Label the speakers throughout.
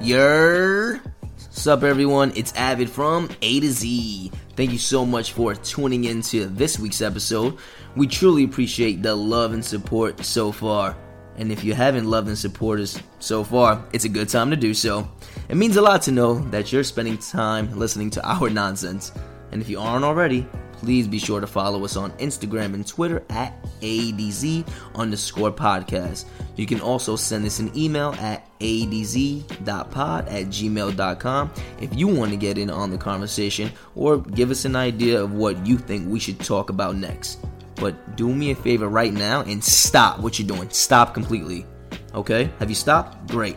Speaker 1: Yer. Sup, everyone? It's Avid from A to Z. Thank you so much for tuning in to this week's episode. We truly appreciate the love and support so far. And if you haven't loved and supported us so far, it's a good time to do so. It means a lot to know that you're spending time listening to our nonsense. And if you aren't already, please be sure to follow us on Instagram and Twitter at ADZ underscore podcast. You can also send us an email at adz.pod at gmail.com if you want to get in on the conversation or give us an idea of what you think we should talk about next. But do me a favor right now and stop what you're doing. Stop completely. Okay? Have you stopped? Great.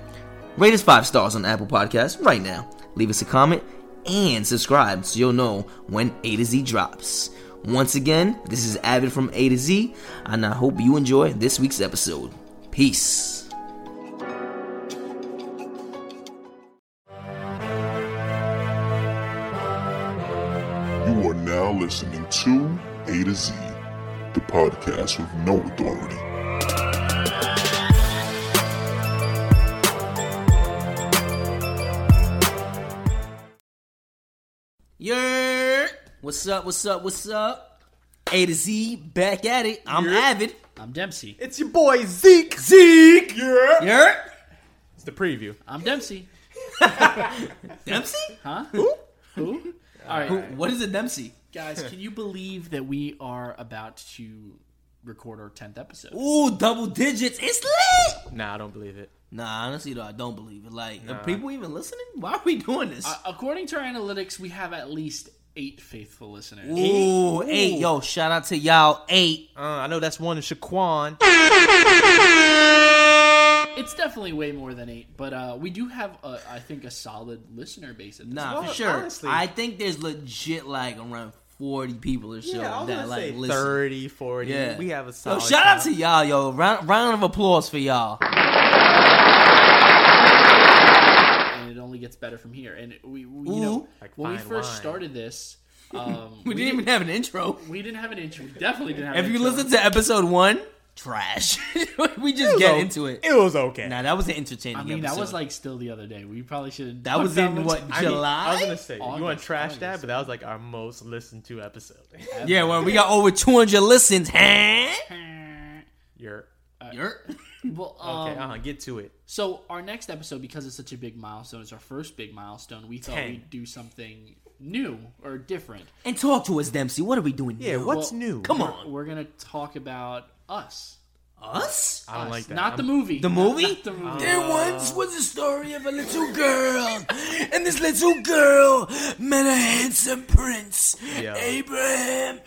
Speaker 1: Rate us five stars on Apple Podcasts right now. Leave us a comment and subscribe so you'll know when A to Z drops. Once again, this is Avid from A to Z, and I hope you enjoy this week's episode. Peace.
Speaker 2: You are now listening to A to Z, the podcast with no authority.
Speaker 1: Yer! What's up, what's up, what's up? A to Z, back at it. I'm Avid.
Speaker 3: I'm Dempsey.
Speaker 4: It's your boy Zeke. Zeke. Yeah.
Speaker 1: Yer!
Speaker 4: It's the preview.
Speaker 3: I'm Dempsey.
Speaker 1: Dempsey?
Speaker 3: Huh? Who? Who?
Speaker 1: Uh,
Speaker 3: All right, all right.
Speaker 1: What is a Dempsey?
Speaker 3: guys. Can you believe that we are about to record our tenth episode?
Speaker 1: Ooh, double digits. It's lit!
Speaker 4: Nah, I don't believe it.
Speaker 1: Nah, honestly, though, I don't believe it. Like, are people even listening? Why are we doing this?
Speaker 3: Uh, according to our analytics, we have at least eight faithful listeners.
Speaker 1: Ooh, eight. Yo, shout out to y'all. Eight.
Speaker 4: Uh, I know that's one in Shaquan.
Speaker 3: It's definitely way more than eight, but uh, we do have, a, I think, a solid listener base. At this
Speaker 1: Nah,
Speaker 3: point.
Speaker 1: for
Speaker 5: Well,
Speaker 1: sure.
Speaker 5: honestly-
Speaker 1: I think there's legit like around forty people or so
Speaker 5: Yeah, I was
Speaker 1: that
Speaker 5: gonna
Speaker 1: like
Speaker 5: say
Speaker 1: listen.
Speaker 4: 30, 40.
Speaker 1: Yeah,
Speaker 4: We have a
Speaker 1: Yo,
Speaker 4: solid.
Speaker 1: shout out to y'all, yo! Round round of applause for y'all.
Speaker 3: and it only gets better from here. And we, we
Speaker 1: Ooh.
Speaker 3: you know,
Speaker 4: Like
Speaker 3: when we
Speaker 4: fine
Speaker 3: first
Speaker 4: wine.
Speaker 3: started this, um,
Speaker 1: We didn't even have an intro.
Speaker 3: we didn't have an intro. We definitely didn't have.
Speaker 1: If
Speaker 3: an
Speaker 1: you
Speaker 3: intro.
Speaker 1: listen to episode one, trash. we just get into it.
Speaker 4: It was okay.
Speaker 1: Now that was an entertaining.
Speaker 3: I mean, that
Speaker 1: episode.
Speaker 3: was like still the other day. We probably should.
Speaker 1: that was in what
Speaker 4: I, mean,
Speaker 1: July.
Speaker 4: I was gonna say you want
Speaker 3: August,
Speaker 4: to trash that,
Speaker 3: August.
Speaker 4: but that was like our most listened to episode.
Speaker 1: yeah, well, we got over two hundred listens. Huh?
Speaker 4: You're
Speaker 1: Yer.
Speaker 3: Well, um,
Speaker 4: okay. uh-huh, get to it.
Speaker 3: So our next episode, because it's such a big milestone, it's our first big milestone. We thought
Speaker 4: Ten.
Speaker 3: we'd do something new or different.
Speaker 1: And talk to us, Dempsey. What are we doing?
Speaker 4: Yeah,
Speaker 1: now?
Speaker 4: what's
Speaker 3: well,
Speaker 4: new?
Speaker 1: Come on,
Speaker 3: We're gonna talk about us.
Speaker 1: us.
Speaker 4: I don't like that.
Speaker 3: Not
Speaker 4: I'm- Oh.
Speaker 3: the movie.
Speaker 1: The movie?
Speaker 3: Not the movie.
Speaker 1: There once was a story of a little girl, and this little girl met a handsome prince,
Speaker 4: Yeah.
Speaker 1: Abraham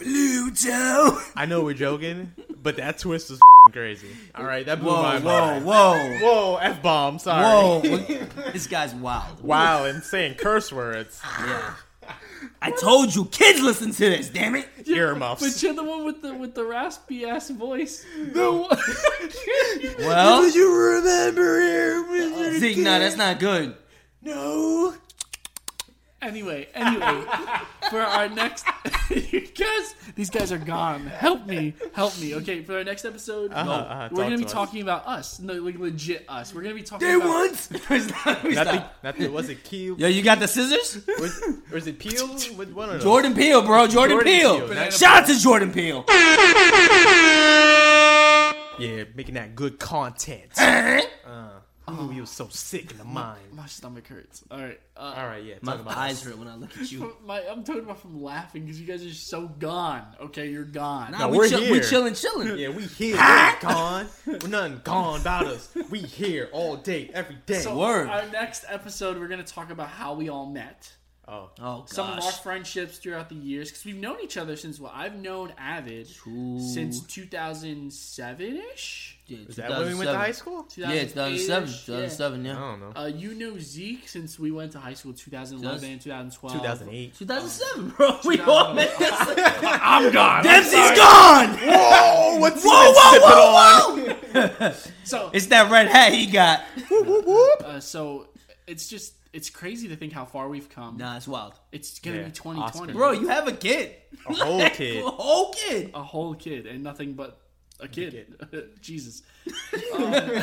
Speaker 1: Pluto.
Speaker 4: I know we're joking, but that twist was crazy. All right, that blew my
Speaker 1: Whoa, whoa,
Speaker 4: mind.
Speaker 1: whoa,
Speaker 4: Whoa, f bomb.
Speaker 1: whoa!
Speaker 4: Sorry.
Speaker 1: this guy's wild.
Speaker 4: wow, and saying curse words.
Speaker 1: I told you, kids listen to this. Damn it!
Speaker 3: But
Speaker 4: Earmuffs.
Speaker 3: you're the one with the with the raspy ass voice. The one-
Speaker 1: Well,
Speaker 4: you remember here?
Speaker 1: Zeke, nah, that's not good.
Speaker 4: No.
Speaker 3: anyway, anyway, for our next, you guys, these guys are gone. Help me, help me. Okay, for our next episode,
Speaker 4: Uh-huh, uh-huh,
Speaker 3: we're
Speaker 4: talk
Speaker 3: gonna be
Speaker 4: to us.
Speaker 3: talking about us, no, like legit us. We're gonna be talking
Speaker 1: There
Speaker 3: about
Speaker 1: once. Stop.
Speaker 4: Nothing. Nothing. Was it Keel?
Speaker 1: Yo, you got the scissors?
Speaker 4: Was, or is it Peel? With one of those?
Speaker 1: Jordan Peele, bro. Jordan,
Speaker 4: Jordan
Speaker 1: Peele.
Speaker 4: Peele.
Speaker 1: Shout out to Jordan Peele.
Speaker 4: Yeah, making that good content. Uh, Ooh, you was so sick in the mind.
Speaker 3: My stomach hurts. All right, uh,
Speaker 4: All right, yeah. Talk
Speaker 1: My
Speaker 4: about
Speaker 1: eyes
Speaker 4: us.
Speaker 1: hurt when I look at you.
Speaker 3: My, I'm talking about from laughing because you guys are so gone. Okay, you're gone.
Speaker 1: Nah,
Speaker 4: No,
Speaker 1: we
Speaker 4: we're
Speaker 1: chill- We
Speaker 4: here.
Speaker 1: chilling, chilling.
Speaker 4: Yeah, we here. We're gone. We're nothing gone about us. We here all day, every day.
Speaker 3: So
Speaker 1: Word.
Speaker 3: Our next episode, we're gonna talk about how we all met.
Speaker 4: Oh.
Speaker 1: Oh, gosh.
Speaker 3: some of our friendships throughout the years because we've known each other since well, I've known Avid since 2007 ish.
Speaker 1: yeah,
Speaker 4: Is that when we went to high school?
Speaker 1: Yeah, 2007. 2007, yeah.
Speaker 4: I don't know.
Speaker 3: Uh, you know Zeke since we went to high school 2011, 2012.
Speaker 4: 2008.
Speaker 1: 2007, bro. We all met this.
Speaker 3: I'm gone.
Speaker 1: Dempsey's gone!
Speaker 4: Whoa! What's
Speaker 1: Whoa, whoa, whoa, whoa!
Speaker 3: So,
Speaker 1: It's that red hat he got.
Speaker 3: uh, so it's just it's crazy to think how far we've come.
Speaker 1: Nah, it's wild.
Speaker 3: It's gonna
Speaker 4: Yeah,
Speaker 3: be 2020,
Speaker 4: Oscar.
Speaker 1: Bro, you have a kid.
Speaker 4: A whole kid.
Speaker 1: A whole kid.
Speaker 4: Oh,
Speaker 3: a whole kid and nothing but a kid. Jesus. um,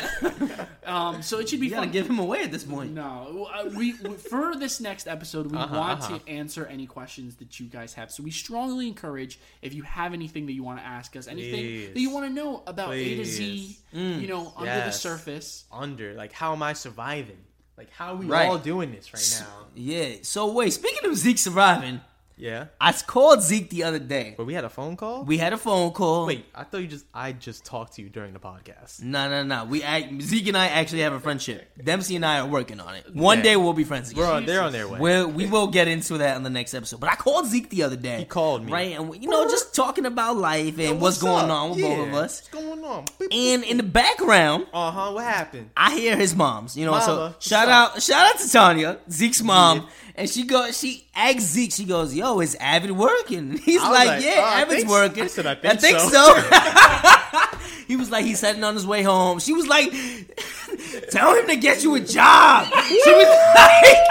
Speaker 3: um, so it should be
Speaker 1: You gotta
Speaker 3: fun.
Speaker 1: give him away at this point.
Speaker 3: No, uh, we, we for this next episode, we want
Speaker 4: uh-huh.
Speaker 3: to answer any questions that you guys have. So we strongly encourage if you have anything that you want to ask us, anything that you
Speaker 4: Please. Mm.
Speaker 3: want to know about A to Z, you know, under the
Speaker 4: Yes.
Speaker 3: surface.
Speaker 4: Under. Like, how am I surviving? Like, how are we
Speaker 1: Right.
Speaker 4: all doing this right now?
Speaker 1: Yeah. So wait, speaking of Zeke surviving,
Speaker 4: Yeah.
Speaker 1: I called Zeke the other day.
Speaker 4: But we had a phone call?
Speaker 1: We had a phone call.
Speaker 4: Oh. Wait, I thought you just I just talked to you during the podcast.
Speaker 1: No, no, no. We act, Zeke and I actually have a friendship. Dempsey and I are working on it. One
Speaker 4: Yeah.
Speaker 1: day we'll be friends
Speaker 4: We're
Speaker 1: again.
Speaker 4: on, they're on their way.
Speaker 1: We'll, we will get into that on the next episode. But I called Zeke the other day. He
Speaker 4: called me.
Speaker 1: Right, and we, you know, just talking about life and what's, going on with both of us.
Speaker 4: What's going on?
Speaker 1: And in the background,
Speaker 4: uh huh. What happened?
Speaker 1: I hear his mom's. You know,
Speaker 4: Mama,
Speaker 1: so shout
Speaker 4: what's
Speaker 1: out, shout out to Tanya, Zeke's mom, and she goes, she asks Zeke, she goes, "Yo, is Avid working?" And he's
Speaker 4: I was
Speaker 1: like,
Speaker 4: like,
Speaker 1: "Yeah,
Speaker 4: "Oh, I
Speaker 1: Avid's
Speaker 4: think so."
Speaker 1: working."
Speaker 4: I said, "I think
Speaker 1: so." he was like, he's heading on his way home. She was like, "Tell him to get you a job." She was like.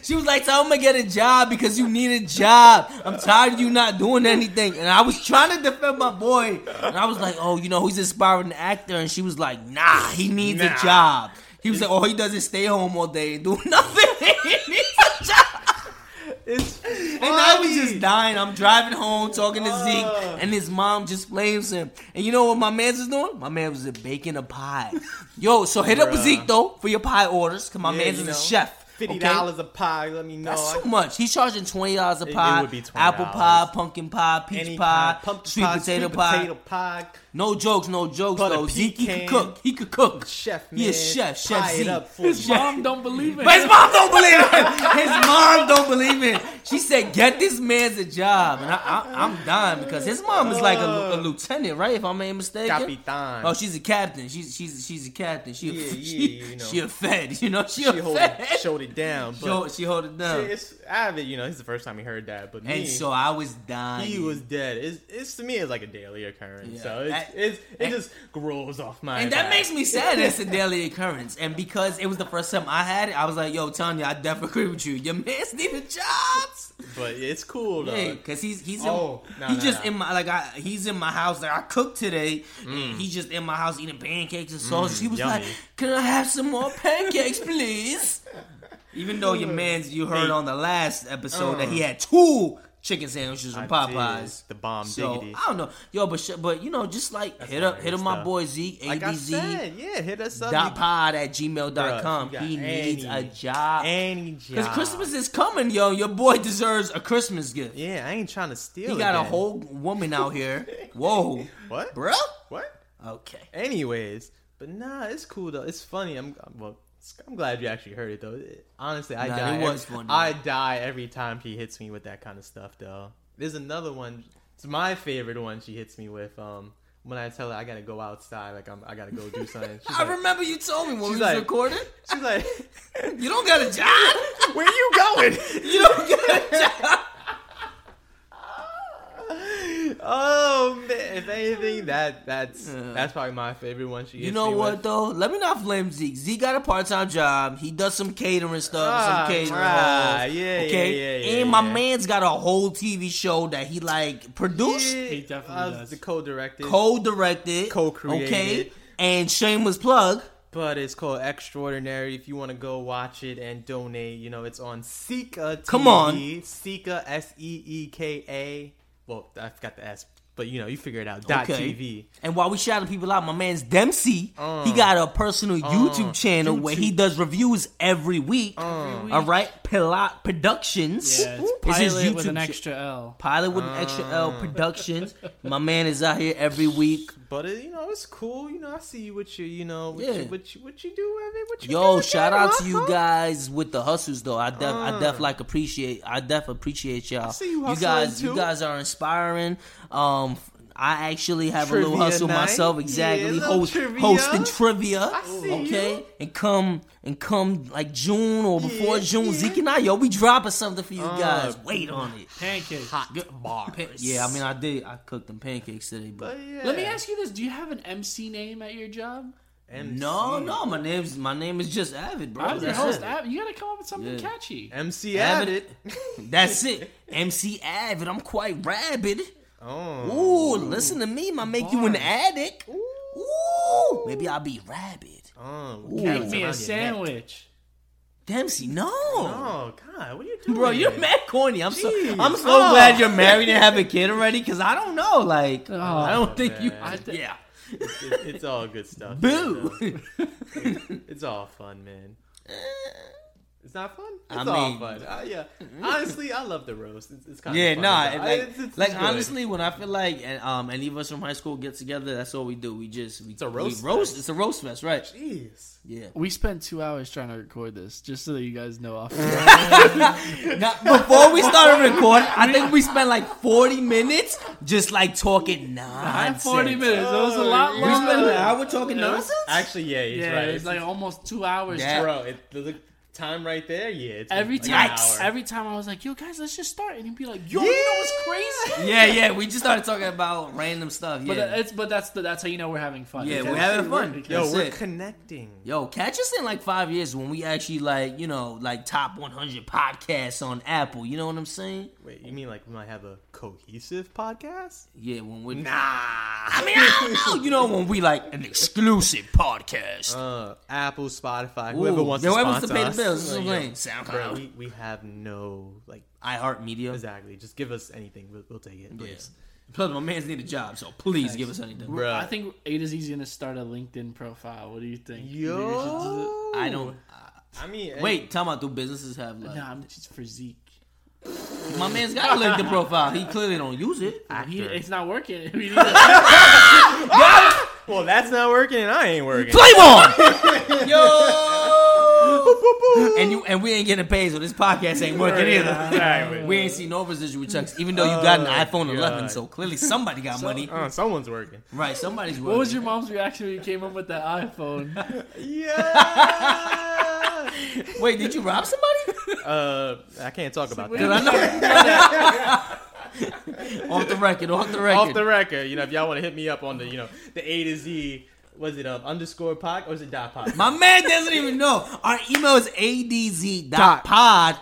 Speaker 1: She was like, tell him to get a job because you need a job. I'm tired of you not doing anything. And I was trying to defend my boy. And I was like, oh, you know, he's aspiring actor. And she was like, nah, he needs
Speaker 4: Nah.
Speaker 1: a job. He was like, all he does is stay home all day and do nothing. he needs a job.
Speaker 4: It's
Speaker 1: And I was just dying. I'm driving home talking to
Speaker 4: Uh.
Speaker 1: Zeke, and his mom just blames him. And you know what my man's was doing? My man was just baking a pie. Yo, so hit up
Speaker 4: Bruh.
Speaker 1: Zeke, though, for your pie orders, because my
Speaker 4: Yeah,
Speaker 1: man's
Speaker 4: you
Speaker 1: is
Speaker 4: know,
Speaker 1: a chef.
Speaker 4: Fifty
Speaker 1: okay?
Speaker 4: dollars a pie. Let me know.
Speaker 1: That's
Speaker 4: I-
Speaker 1: too much. He's charging twenty dollars a
Speaker 4: it
Speaker 1: pie.
Speaker 4: would be $20.
Speaker 1: Apple pie, pumpkin pie, peach
Speaker 4: Any
Speaker 1: pie,
Speaker 4: pumpkin
Speaker 1: sweet
Speaker 4: pie,
Speaker 1: potato
Speaker 4: sweet
Speaker 1: pie.
Speaker 4: potato pie.
Speaker 1: No jokes, no jokes
Speaker 4: Butter
Speaker 1: though. Zeke he could
Speaker 4: pecan.
Speaker 1: cook. He could cook.
Speaker 4: Chef man,
Speaker 1: He is chef. Chef
Speaker 4: pie it
Speaker 1: Zeke.
Speaker 4: up for
Speaker 3: His
Speaker 4: you.
Speaker 3: mom um, don't believe it.
Speaker 1: But his mom don't believe him. His mom don't believe him. She said, "Get this man's a job," and I, I, I'm dying because his mom is like a, lu- a lieutenant, right? If I'm not mistaken.
Speaker 4: Capitan.
Speaker 1: Oh, she's a captain. She's she's she's a captain. She a,
Speaker 4: Yeah, yeah,
Speaker 1: she,
Speaker 4: you know.
Speaker 1: she a fed. You know she,
Speaker 4: she
Speaker 1: a
Speaker 4: hold
Speaker 1: fed.
Speaker 4: it, showed it down.
Speaker 1: She
Speaker 4: But
Speaker 1: hold- she hold it down.
Speaker 4: it's avid. You know, this is the first time he heard that. But me,
Speaker 1: and so I was dying.
Speaker 4: he was dead. It's, it's to me, it's like a daily occurrence.
Speaker 1: Yeah.
Speaker 4: So it's,
Speaker 1: That-
Speaker 4: it's, it
Speaker 1: and-
Speaker 4: just grows off my.
Speaker 1: And that
Speaker 4: back.
Speaker 1: makes me sad. It's a daily occurrence, and because it was the first time I had it, I was like, "Yo, Tanya, I definitely agree with you. Your man's needing jobs,
Speaker 4: But it's cool though.
Speaker 1: yeah, because he's he's in,
Speaker 4: Oh, no,
Speaker 1: he's
Speaker 4: no,
Speaker 1: just
Speaker 4: no.
Speaker 1: in my like I he's in my house. Like I cooked today, and he's just in my house eating pancakes and sausage. he was
Speaker 4: Mm. yummy.
Speaker 1: like, "Can I have some more pancakes, please?" Even though your man's, you heard
Speaker 4: Hey. Uh.
Speaker 1: on the last episode that he had two chicken sandwiches
Speaker 4: I
Speaker 1: from
Speaker 4: did.
Speaker 1: Popeyes.
Speaker 4: The bomb
Speaker 1: So
Speaker 4: diggity.
Speaker 1: I don't know, yo, but sh- but you know, just like hit
Speaker 4: not
Speaker 1: up hit
Speaker 4: good
Speaker 1: up my
Speaker 4: stuff.
Speaker 1: boy Zeke,
Speaker 4: Like I
Speaker 1: ABZ
Speaker 4: said, yeah, hit us up.
Speaker 1: dot
Speaker 4: You-
Speaker 1: pod at gmail.com.
Speaker 4: Bruh, you
Speaker 1: He
Speaker 4: got
Speaker 1: needs a
Speaker 4: any-
Speaker 1: job.
Speaker 4: Any job.
Speaker 1: Because Christmas is coming, yo. Your boy deserves a Christmas gift.
Speaker 4: Yeah, I ain't trying to steal.
Speaker 1: He got a
Speaker 4: again.
Speaker 1: whole woman out here. Whoa.
Speaker 4: What?
Speaker 1: Bruh?
Speaker 4: What?
Speaker 1: Okay.
Speaker 4: Anyways, but nah, it's cool though. It's funny. I'm I'm- well. it's- I'm glad you actually heard it though. It- honestly, I
Speaker 1: Nah,
Speaker 4: die.
Speaker 1: it was
Speaker 4: every,
Speaker 1: funny.
Speaker 4: I die every time she hits me with that kind of stuff though. There's another one. It's my favorite one. She hits me with um when I tell her I gotta go outside. Like I'm I gotta go do something. She's
Speaker 1: I
Speaker 4: like,
Speaker 1: remember you told me when we was
Speaker 4: like-
Speaker 1: recording.
Speaker 4: she's like
Speaker 1: You don't got a job.
Speaker 4: where you going?
Speaker 1: You don't got a job.
Speaker 4: oh man! If anything, that that's that's probably my favorite one. She
Speaker 1: You
Speaker 4: hits
Speaker 1: know
Speaker 4: me
Speaker 1: what
Speaker 4: with.
Speaker 1: though? Let me not blame Zeke. Zeke got a part time job. He does some catering stuff,
Speaker 4: Ah,
Speaker 1: some catering.
Speaker 4: right.
Speaker 1: roles,
Speaker 4: Yeah, yeah,
Speaker 1: okay.
Speaker 4: yeah, yeah,
Speaker 1: and my
Speaker 4: yeah.
Speaker 1: man's got a whole TV show that he like produced.
Speaker 3: He definitely
Speaker 4: uh,
Speaker 3: does.
Speaker 4: The co-directed,
Speaker 1: co-directed,
Speaker 4: Co-created.
Speaker 1: okay, and shameless plug.
Speaker 4: but it's called Extraordinary. If you want to go watch it and donate, you know it's on Sika. TV.
Speaker 1: Come on.
Speaker 4: Sika S E E K A. Well, I forgot the S. But you know, you figure it out. Dot
Speaker 1: Okay.
Speaker 4: TV.
Speaker 1: And while we shouting people out, my man's Dempsey, he got a personal YouTube channel where he does reviews Uh. every week. All right, Pilot Productions.
Speaker 3: Yeah,
Speaker 1: is
Speaker 3: it's
Speaker 1: his
Speaker 3: pilot with an
Speaker 1: YouTube cha-
Speaker 3: extra L.
Speaker 1: Pilot with an extra L Productions. My man is out here every week.
Speaker 4: But it, you know, it's cool. You know, I see you what you, you know, what,
Speaker 1: Yeah.
Speaker 4: you, what you what you do, Evan. What you do
Speaker 1: Yo,
Speaker 4: with
Speaker 1: shout
Speaker 4: that,
Speaker 1: out
Speaker 4: huh?
Speaker 1: to you guys with the hustles though. I def, I def like appreciate. I def appreciate y'all.
Speaker 4: Mm. see you hustling,
Speaker 1: guys, you
Speaker 4: too.
Speaker 1: guys are inspiring. Um, I actually have a little
Speaker 4: Trivia
Speaker 1: hustle
Speaker 4: night.
Speaker 1: myself.
Speaker 4: Yeah,
Speaker 1: Exactly,
Speaker 4: little
Speaker 1: host,
Speaker 4: trivia.
Speaker 1: hosting trivia.
Speaker 4: see
Speaker 1: okay,
Speaker 4: you.
Speaker 1: and come and come like June or before
Speaker 4: Yeah,
Speaker 1: June.
Speaker 4: yeah. Uh,
Speaker 1: Zeke and I, yo, we dropping something for you guys. Wait on it.
Speaker 3: Pancake.
Speaker 1: Good bar. Yeah, I mean, I did. I cooked them pancakes today, but.
Speaker 4: But Oh, yeah.
Speaker 3: Let me ask you this: Do you have an MC name at your job?
Speaker 4: MC.
Speaker 1: No, no, my name's my name is just Avid, bro.
Speaker 3: I'm your
Speaker 1: That's
Speaker 3: host.
Speaker 1: it.
Speaker 3: Ab. You gotta come up with something
Speaker 1: Yeah.
Speaker 3: catchy.
Speaker 4: MC
Speaker 1: Abbott.
Speaker 4: Abbott.
Speaker 1: That's it. MC Avid. I'm quite rabid.
Speaker 4: Oh.
Speaker 1: Ooh, listen to me. My make you an addict. Ooh, maybe I'll be rabid.
Speaker 4: Oh.
Speaker 3: Make me
Speaker 4: carrots around
Speaker 3: a
Speaker 4: your neck.
Speaker 3: sandwich.
Speaker 1: Dempsey, no.
Speaker 4: Oh God, what are you doing,
Speaker 1: Bro, you're mad corny. I'm so
Speaker 4: Jeez.
Speaker 1: I'm so
Speaker 4: Oh.
Speaker 1: glad you're married and have a kid already. Cause I don't know, like I don't think you.
Speaker 4: man. I
Speaker 3: th-
Speaker 1: yeah,
Speaker 4: It- it's all good stuff.
Speaker 1: boo.
Speaker 4: man, though. It's all fun, man. It's not fun. It's
Speaker 1: I
Speaker 4: all
Speaker 1: mean- mm-hmm.
Speaker 4: fun. Uh, yeah. Honestly, I love the roast. It's, it's kind
Speaker 1: Yeah,
Speaker 4: of fun.
Speaker 1: nah.
Speaker 4: I-
Speaker 1: it- Like,
Speaker 4: it's- it's
Speaker 1: like
Speaker 4: good.
Speaker 1: honestly, when I feel like and, um, any of us from high school get together, that's all we do. We just we, it's
Speaker 4: a roast
Speaker 1: We roast.
Speaker 4: fest.
Speaker 1: It's a roast fest, right?
Speaker 4: Jeez.
Speaker 1: Yeah.
Speaker 3: We spent two hours trying to record this, just so that you guys know. Off.
Speaker 1: Now, before we started recording, I think we spent like forty minutes just like talking nonsense.
Speaker 3: Forty minutes. It was a lot
Speaker 1: We spent an
Speaker 3: longer.
Speaker 1: hour talking nonsense.
Speaker 4: Actually, yeah, he's
Speaker 3: Yeah,
Speaker 4: right.
Speaker 3: it's like almost two hours.
Speaker 1: Yeah.
Speaker 4: bro, it, the, the time right there. Yeah, it's been
Speaker 3: Every
Speaker 4: like an
Speaker 3: time,
Speaker 4: hour.
Speaker 3: every time I was like, "Yo, guys, let's just start," and he'd be like, "Yo, you know what's crazy?"
Speaker 1: yeah, yeah. We just started talking about random stuff.
Speaker 4: uh,
Speaker 3: But
Speaker 1: Yeah,
Speaker 3: it's but that's the, that's how you know we're having fun.
Speaker 1: yeah.
Speaker 3: Because-
Speaker 1: We're having fun.
Speaker 4: Yo,
Speaker 1: That's
Speaker 4: we're
Speaker 1: it.
Speaker 4: connecting.
Speaker 1: Yo, catch us in like five years when we actually like you know like top one hundred podcasts on Apple. You know what I'm saying?
Speaker 4: Wait, you mean like we might have a cohesive podcast? Uh,
Speaker 1: Yeah, when we're
Speaker 4: Nah.
Speaker 1: I mean, I don't know. You know, when we like an exclusive podcast.
Speaker 4: Uh, Apple, Spotify, whoever
Speaker 1: Ooh,
Speaker 4: wants to
Speaker 1: whoever
Speaker 4: sponsor
Speaker 1: wants to pay the
Speaker 4: us.
Speaker 1: bills, that's what I'm
Speaker 4: Like, yo,
Speaker 1: saying.
Speaker 4: Bro,
Speaker 1: SoundCloud.
Speaker 4: we, we have no like
Speaker 1: iHeartMedia.
Speaker 4: exactly. Just give us anything. We'll, we'll take it.
Speaker 1: Yeah.
Speaker 4: Please.
Speaker 1: Plus, my man's need a job, so please give us anything.
Speaker 4: Bruh.
Speaker 3: I think A to Z's gonna start a LinkedIn profile. What do you think? You think we should do
Speaker 4: Yo,
Speaker 1: I don't.
Speaker 4: I mean, any-
Speaker 1: Wait, talking about do businesses have
Speaker 3: that?
Speaker 1: like?
Speaker 3: Nah, I'm just for Zeke.
Speaker 1: My man's got a LinkedIn profile. He clearly don't use it.
Speaker 3: He,
Speaker 4: Actor.
Speaker 3: it's not working. We need to-
Speaker 4: Well, that's not working, and I ain't working.
Speaker 1: Play one, yo. and you and we ain't getting paid, so this podcast ain't working either.
Speaker 4: Exactly.
Speaker 1: We ain't seen no residual checks, even though you got an iPhone 11. Oh, So clearly somebody got money,
Speaker 4: Uh, someone's working.
Speaker 1: right? Somebody's.
Speaker 3: what was your mom's reaction when you came home with that iPhone?
Speaker 4: Yeah.
Speaker 1: Wait, did you rob somebody?
Speaker 4: uh, I can't talk about
Speaker 3: Wait,
Speaker 4: that.
Speaker 1: off the record, off the record.
Speaker 4: Off the record, you know, if y'all want to hit me up on the, you know, the A to Z, was it um underscore pod or is it dot pod?
Speaker 1: My man doesn't even know. Our email is adz.pod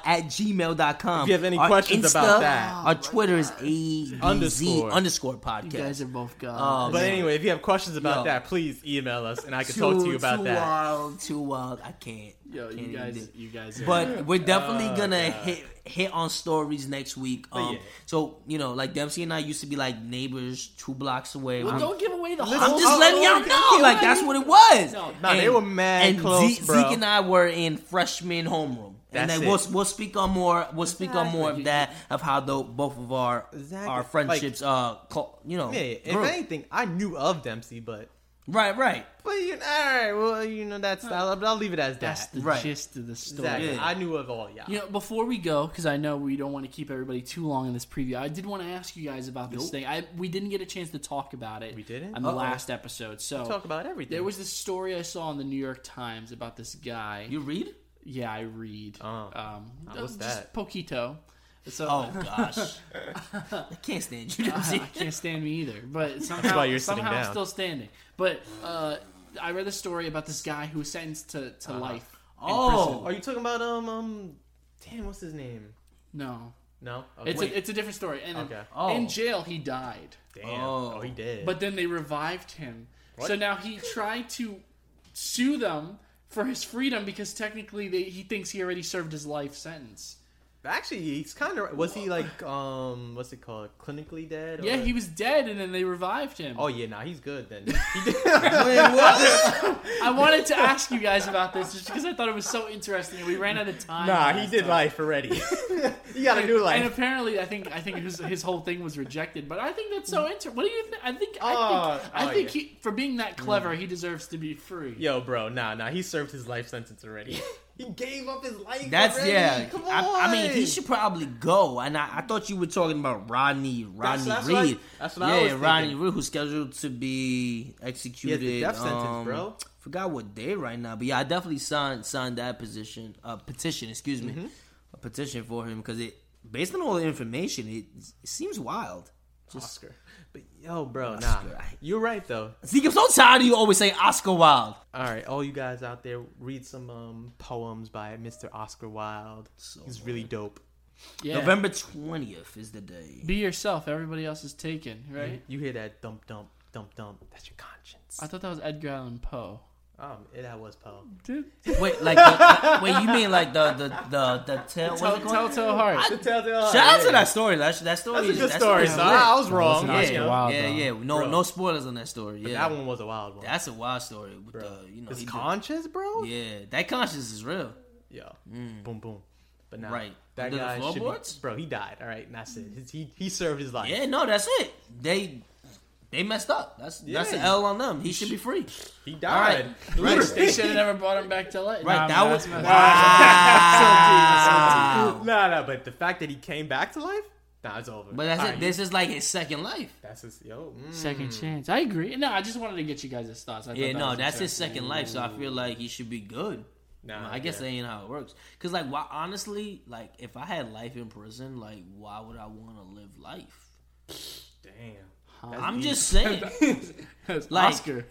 Speaker 1: at gmail.com.
Speaker 4: If you have any
Speaker 1: Our
Speaker 4: questions about that.
Speaker 1: Our Twitter is adz underscore,
Speaker 4: Underscore.
Speaker 1: podcast.
Speaker 3: You guys are both
Speaker 1: Oh,
Speaker 3: gone.
Speaker 4: But anyway, if you have questions about
Speaker 1: Yo.
Speaker 4: that, please email us and I can talk to you about
Speaker 1: too
Speaker 4: that.
Speaker 1: wild, too wild. I can't.
Speaker 3: Yo, you
Speaker 1: Can't
Speaker 3: guys,
Speaker 1: even
Speaker 3: you guys. Are,
Speaker 1: But we're
Speaker 4: Oh,
Speaker 1: definitely gonna hit hit on stories next week. Um,
Speaker 4: yeah.
Speaker 1: So you know, like Dempsey and I used to be like neighbors, two blocks away. Um,
Speaker 3: well,
Speaker 1: I'm-
Speaker 3: don't give away the.
Speaker 1: I'm
Speaker 3: whole
Speaker 1: just letting y'all
Speaker 3: story.
Speaker 1: know, oh, like that's what it was.
Speaker 3: No,
Speaker 4: Nah, they were mad
Speaker 1: and
Speaker 4: close,
Speaker 1: Ze-
Speaker 4: bro.
Speaker 1: Zeke and I were in freshman homeroom, and
Speaker 4: That's
Speaker 1: then we'll
Speaker 4: it.
Speaker 1: we'll speak on more. We'll speak on more of that of how though both of our
Speaker 4: Exactly.
Speaker 1: our friendships, uh, cl- you know,
Speaker 4: Yeah, if
Speaker 1: grew.
Speaker 4: anything, I knew of Dempsey, but
Speaker 1: right, right.
Speaker 4: but you all right, well, you know that's I'll, I'll leave it as
Speaker 3: That's
Speaker 4: that.
Speaker 3: the
Speaker 1: Right.
Speaker 3: gist of the story.
Speaker 4: Exactly.
Speaker 1: Yeah.
Speaker 4: I knew of all y'all.
Speaker 3: You know, before we go, because I know we don't want to keep everybody too long in this preview, I did want to ask you guys about this thing. I we didn't get a chance to talk about it.
Speaker 4: We didn't?
Speaker 3: on the
Speaker 1: Uh-oh.
Speaker 3: last episode. So
Speaker 4: Talk about everything.
Speaker 3: there was this story I saw in the New York Times about this guy.
Speaker 1: You read?
Speaker 3: yeah, I read.
Speaker 4: Oh.
Speaker 3: um,
Speaker 4: what's
Speaker 3: just
Speaker 4: that?
Speaker 3: Poquito. So
Speaker 1: Oh gosh, I can't stand you. Dempsey.
Speaker 3: I can't stand me either. But somehow,
Speaker 4: why you're sitting
Speaker 3: somehow I'm
Speaker 4: down.
Speaker 3: still standing. But uh, I read the story about this guy who was sentenced to, to life. in
Speaker 1: Oh.
Speaker 3: prison.
Speaker 4: Uh-huh. Are you talking about um um? Damn, what's his name?
Speaker 3: no.
Speaker 4: No, Oh, okay.
Speaker 3: It's a, it's a different story. And
Speaker 4: Okay.
Speaker 1: Oh.
Speaker 3: in jail, he died.
Speaker 4: damn.
Speaker 1: Oh.
Speaker 4: Oh. he did.
Speaker 3: But then they revived him. So now he tried to sue them for his freedom because technically they, he thinks he already served his life sentence.
Speaker 4: Actually, he's kind of was he like um what's it called clinically dead?
Speaker 3: Yeah,
Speaker 4: or-
Speaker 3: he was dead, and then they revived him.
Speaker 4: Oh yeah, nah, he's good then.
Speaker 3: I wanted to ask you guys about this just because I thought it was so interesting, and we ran out of time.
Speaker 4: nah, he
Speaker 3: last
Speaker 4: did
Speaker 3: time.
Speaker 4: life already. he got a new
Speaker 3: And
Speaker 4: life.
Speaker 3: apparently, I think I think his, his whole thing was rejected. But I think that's so interesting. What do you? think? I think I
Speaker 4: Oh,
Speaker 3: think, I
Speaker 4: oh,
Speaker 3: think
Speaker 4: yeah.
Speaker 3: he, for being that clever,
Speaker 1: Mm.
Speaker 3: he deserves to be free.
Speaker 4: Yo, bro, nah, nah, he served his life sentence already. he gave up his life.
Speaker 1: That's
Speaker 4: already.
Speaker 1: yeah.
Speaker 4: Come on.
Speaker 1: I, I mean, he should probably go. And I, I thought you were talking about Rodney Rodney
Speaker 4: that's what I-
Speaker 1: Reed.
Speaker 4: that's what I
Speaker 1: yeah,
Speaker 4: was
Speaker 1: Rodney
Speaker 4: thinking.
Speaker 1: Reed, who's scheduled to be executed.
Speaker 4: death sentence,
Speaker 1: um,
Speaker 4: bro.
Speaker 1: Forgot what day right now, but yeah, I definitely signed signed that position uh, petition. Excuse me,
Speaker 4: Mm-hmm.
Speaker 1: a petition for him because it, based on all the information, it, it seems wild.
Speaker 4: Oscar. But yo, bro, nah, you're right though.
Speaker 1: Zeke, I'm so tired of you always saying Oscar Wilde.
Speaker 4: All right, all you guys out there, read some um, poems by Mr. Oscar Wilde. He's really dope.
Speaker 3: Yeah.
Speaker 1: November twentieth is the day.
Speaker 3: Be yourself. Everybody else is taken,
Speaker 1: Mm.
Speaker 3: right?
Speaker 4: You hear that dump, dump, dump, dump? That's your conscience.
Speaker 3: I thought that was Edgar Allan Poe.
Speaker 4: Um, yeah, that was poem.
Speaker 3: Dude,
Speaker 1: Wait, like, the, wait, you mean like the the the the tell? what's
Speaker 3: tell,
Speaker 1: it called?
Speaker 3: Telltale Heart.
Speaker 1: Shout out to that story. That, that story
Speaker 4: That's a
Speaker 1: is
Speaker 4: good
Speaker 1: that
Speaker 4: story.
Speaker 1: is
Speaker 4: So
Speaker 1: lit.
Speaker 4: I, I was wrong.
Speaker 3: Oscar
Speaker 4: Yeah.
Speaker 3: Wilde.
Speaker 1: yeah, yeah. No,
Speaker 4: Bro.
Speaker 1: no spoilers on that story. Yeah,
Speaker 4: That one was a wild one.
Speaker 1: that's a wild story with the you know.
Speaker 4: His
Speaker 1: he did-
Speaker 4: conscience, bro.
Speaker 1: yeah, that conscience is real.
Speaker 4: Yeah. Boom, boom. But now,
Speaker 1: Right.
Speaker 4: That
Speaker 1: Under the
Speaker 4: guy should be-
Speaker 1: floorboards?
Speaker 4: bro. He died. All right, and that's it. His, he he served his life.
Speaker 1: Yeah, no, that's it. They they messed up. That's that's an
Speaker 4: Yeah.
Speaker 1: L on them. He should be free.
Speaker 4: He
Speaker 1: right.
Speaker 4: died.
Speaker 1: Right.
Speaker 3: They should have never brought him back to life.
Speaker 1: Right, that
Speaker 3: Nah, man,
Speaker 1: was
Speaker 3: that's-
Speaker 1: wow.
Speaker 4: No, no, but the fact that he came back to life, nah, it's over.
Speaker 1: But that's
Speaker 4: All
Speaker 1: it.
Speaker 4: right,
Speaker 1: This is like his second life.
Speaker 4: That's his yo. mm.
Speaker 3: Second chance. I agree. No, I just wanted to get you guys' thoughts. I thought
Speaker 1: Yeah,
Speaker 3: that
Speaker 1: no,
Speaker 3: was
Speaker 1: that's his
Speaker 3: interesting.
Speaker 1: second life. So I feel like he should be good.
Speaker 4: Nah,
Speaker 1: I guess
Speaker 4: yeah.
Speaker 1: that ain't how it works. Cause like, why? Honestly, like, if I had life in prison, like, why would I want to live life?
Speaker 4: Damn.
Speaker 1: I'm just saying.
Speaker 3: That's
Speaker 1: Like-
Speaker 3: Oscar.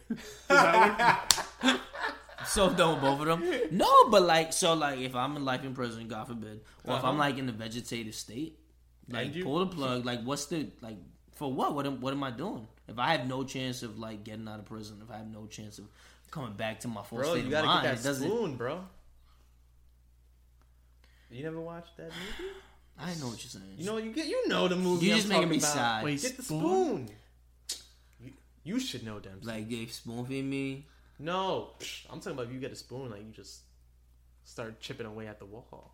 Speaker 1: so don't both of them. No, but like, so like, if I'm in life in prison, God forbid, or if I'm like in the vegetative state, like,
Speaker 4: Uh-huh. And you-
Speaker 1: pull the plug. Like, what's the like for what? What am What am I doing? If I have no chance of like getting out of prison, if I have no chance of coming back to my full
Speaker 4: Bro,
Speaker 1: state
Speaker 4: you
Speaker 1: of
Speaker 4: gotta
Speaker 1: mind,
Speaker 4: get
Speaker 1: it
Speaker 4: that
Speaker 1: doesn't.
Speaker 4: spoon, bro. You never watched that movie?
Speaker 1: I know what you're saying.
Speaker 4: You know you get you know the movie.
Speaker 1: You
Speaker 4: I'm
Speaker 1: just making me
Speaker 4: talking about.
Speaker 1: sad.
Speaker 3: Wait,
Speaker 4: Get the
Speaker 3: Spoon?
Speaker 4: spoon. You, you should know them.
Speaker 1: like they spoon feed me.
Speaker 4: no, I'm talking about if you get a spoon, like you just start chipping away at the wall.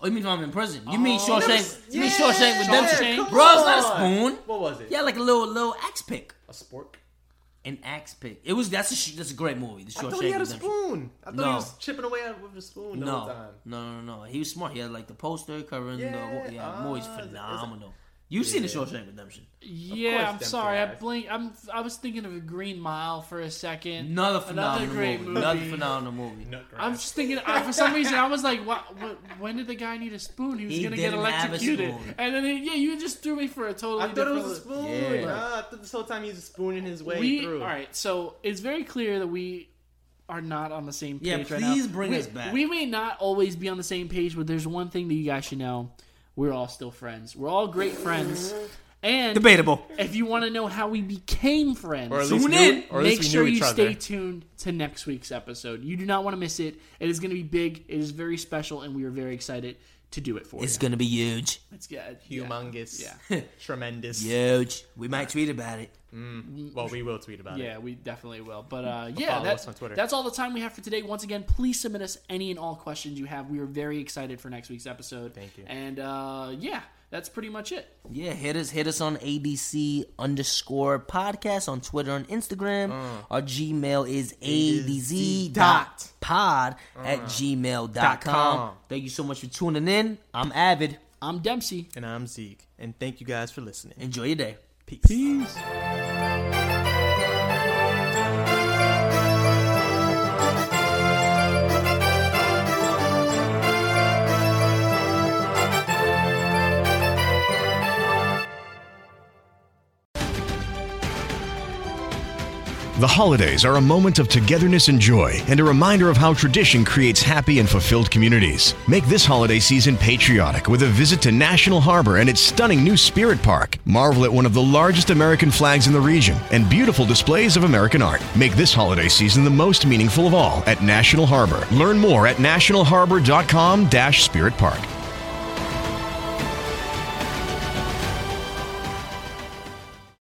Speaker 1: Oh, you mean if I'm in prison? You mean
Speaker 3: Oh.
Speaker 1: Shawshank? You mean
Speaker 4: Yeah,
Speaker 1: Shawshank Redemption?
Speaker 4: come
Speaker 1: Bro, it's not a
Speaker 4: on.
Speaker 1: spoon.
Speaker 4: What was it?
Speaker 1: Yeah, like a little little axe pick.
Speaker 4: a spork.
Speaker 1: An axe pick. It was that's a sh- that's a great movie. The
Speaker 4: I
Speaker 1: Shawshank
Speaker 4: thought he had a
Speaker 1: Redemption.
Speaker 4: spoon. I thought
Speaker 1: No.
Speaker 4: he was chipping away at, with a spoon the whole
Speaker 1: No,
Speaker 4: time.
Speaker 1: no, no, no. He was smart. He had like the poster covering the
Speaker 4: Yeah,
Speaker 1: whole. Yeah, the movie's
Speaker 4: ah, is it-
Speaker 1: phenomenal. You've seen the Shawshank Redemption.
Speaker 3: Yeah, I'm
Speaker 4: them
Speaker 3: sorry. I
Speaker 4: guys.
Speaker 3: blinked. I'm. I was thinking of a Green Mile for a second.
Speaker 1: Another phenomenal
Speaker 3: great
Speaker 1: movie.
Speaker 3: movie.
Speaker 1: Another phenomenal movie.
Speaker 3: I'm just thinking I, for some reason I was like, what, what, when did the guy need a spoon? He was
Speaker 1: He
Speaker 3: gonna get
Speaker 1: didn't have a
Speaker 3: electrocuted,
Speaker 1: spoon.
Speaker 3: and then yeah, you just threw me for a totally.
Speaker 4: I thought it was a
Speaker 3: different-
Speaker 4: spoon.
Speaker 1: Yeah.
Speaker 4: Nah, I thought this whole time he was spooning his way
Speaker 3: We
Speaker 4: through.
Speaker 3: all right. So it's very clear that we are not on the same page.
Speaker 1: Yeah,
Speaker 3: right now.
Speaker 1: please bring
Speaker 3: We-
Speaker 1: us back.
Speaker 3: We may not always be on the same page, but there's one thing that you guys should know: we're all still friends. We're all great friends. And
Speaker 1: Debatable.
Speaker 3: if you want to know how we became friends,
Speaker 4: Or at
Speaker 1: Tune
Speaker 4: least knew-
Speaker 1: in.
Speaker 4: or at
Speaker 3: Make
Speaker 4: least we
Speaker 3: sure
Speaker 4: knew
Speaker 3: you
Speaker 4: each
Speaker 3: stay
Speaker 4: other.
Speaker 3: tuned to next week's episode. You do not want to miss it. It is going to be big. It is very special, and we are very excited to do it for
Speaker 1: It's
Speaker 3: you.
Speaker 1: gonna be huge,
Speaker 3: It's good.
Speaker 4: Humongous.
Speaker 3: Yeah.
Speaker 4: Tremendous.
Speaker 1: huge. We might tweet about it.
Speaker 4: Well, we will tweet about
Speaker 3: Yeah,
Speaker 4: it.
Speaker 3: we definitely will. But uh, yeah,
Speaker 4: follow
Speaker 3: that-
Speaker 4: us on Twitter.
Speaker 3: that's all the time we have for today. Once again, please submit us any and all questions you have. We are very excited for next week's episode. Thank
Speaker 4: you.
Speaker 3: And uh, yeah, that's pretty much it.
Speaker 1: Yeah, hit us hit us on ADC underscore podcast on Twitter and Instagram. Our Gmail is ADZ dot pod at gmail dot com.
Speaker 4: com.
Speaker 1: Thank you so much for tuning in. I'm Avid.
Speaker 3: I'm Dempsey.
Speaker 4: And I'm Zeke. And thank you guys for listening.
Speaker 1: Enjoy your day.
Speaker 4: Peace.
Speaker 6: The holidays are a moment of togetherness and joy, and a reminder of how tradition creates happy and fulfilled communities. Make this holiday season patriotic with a visit to National Harbor and its stunning new Spirit Park. Marvel at one of the largest American flags in the region and beautiful displays of American art. Make this holiday season the most meaningful of all at National Harbor. Learn more at nationalharbor.com-spiritpark.